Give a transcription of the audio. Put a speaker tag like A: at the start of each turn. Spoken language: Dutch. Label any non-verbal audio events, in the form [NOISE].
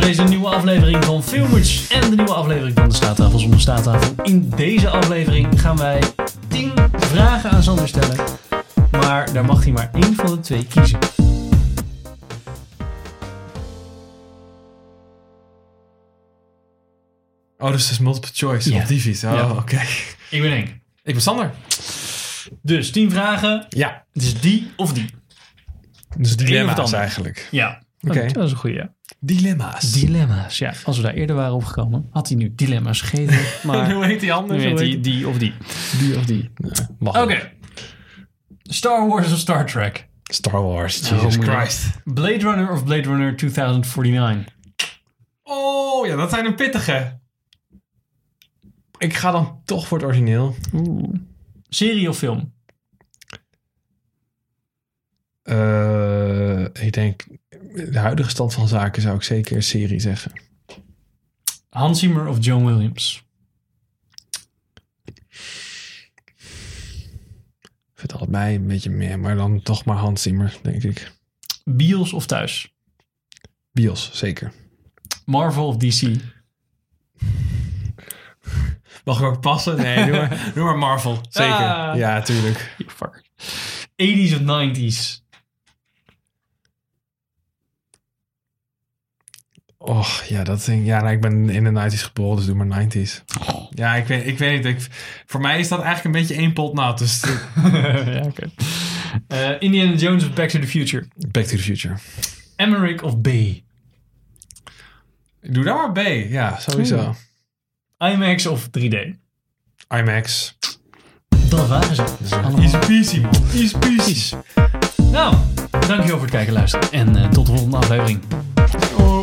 A: deze nieuwe aflevering van Filmers en de nieuwe aflevering van de Staattafel zonder Staattafel. In deze aflevering gaan wij 10 vragen aan Sander stellen, maar daar mag hij maar één van de twee kiezen.
B: Oh, dus het is multiple choice
A: Ja.
B: op Divi's. Oh,
A: Ja.
B: oké.
A: Ik ben Henk.
B: Ik ben Sander.
A: Dus 10 vragen,
B: Ja.
A: het is die of die.
B: Dus
A: of het
B: dilemma's
A: ander.
B: eigenlijk.
A: Ja.
B: Oké.
A: Dat is een goede.
B: Dilemma's.
A: Dilemma's, ja. Als we daar eerder waren opgekomen, had hij nu dilemma's [LAUGHS] gegeven, maar
B: [LAUGHS] Hoe heet die
A: nu
B: anders?
A: weet
B: Hoe
A: hij
B: heet
A: die of die.
B: die? Die of die? Oké.
A: Oké. Star Wars of Star Trek?
B: Star Wars. Jesus
A: moeilijk.
B: Christ.
A: Blade Runner of Blade Runner 2049?
B: Oh, ja, dat zijn een pittige. Ik ga dan toch voor het origineel.
A: Oeh. Serie of film?
B: Eh, ik denk, de huidige stand van zaken zou ik zeker een serie zeggen.
A: Hans Zimmer of John Williams?
B: Ik vind het allebei een beetje meer, maar dan toch maar Hans Zimmer, denk ik.
A: Bios of thuis?
B: Bios, zeker.
A: Marvel of DC?
B: Mag ik ook passen? Nee, doe [LAUGHS] maar, doe maar Marvel. Zeker.
A: Ah.
B: Ja, tuurlijk.
A: You fucker. 80s of 90s?
B: Och, ja, dat ding. Ja, nou, ik ben in de 90s geboren, dus doe maar 90s. Ja, ik weet, ik weet niet. Ik, voor mij is dat eigenlijk een beetje één pot nat. Dus
A: [LAUGHS] ja, oké. Eh, Indiana Jones of Back to the Future?
B: Back to the Future.
A: Emmerich of B?
B: Doe daar maar B. Ja, sowieso.
A: IMAX of 3D?
B: IMAX.
A: Dat waren ze.
B: Easy peasy, man. Easy peasy.
A: Nou, dankjewel voor het kijken en luisteren. En eh, tot de volgende aflevering.
B: Oh.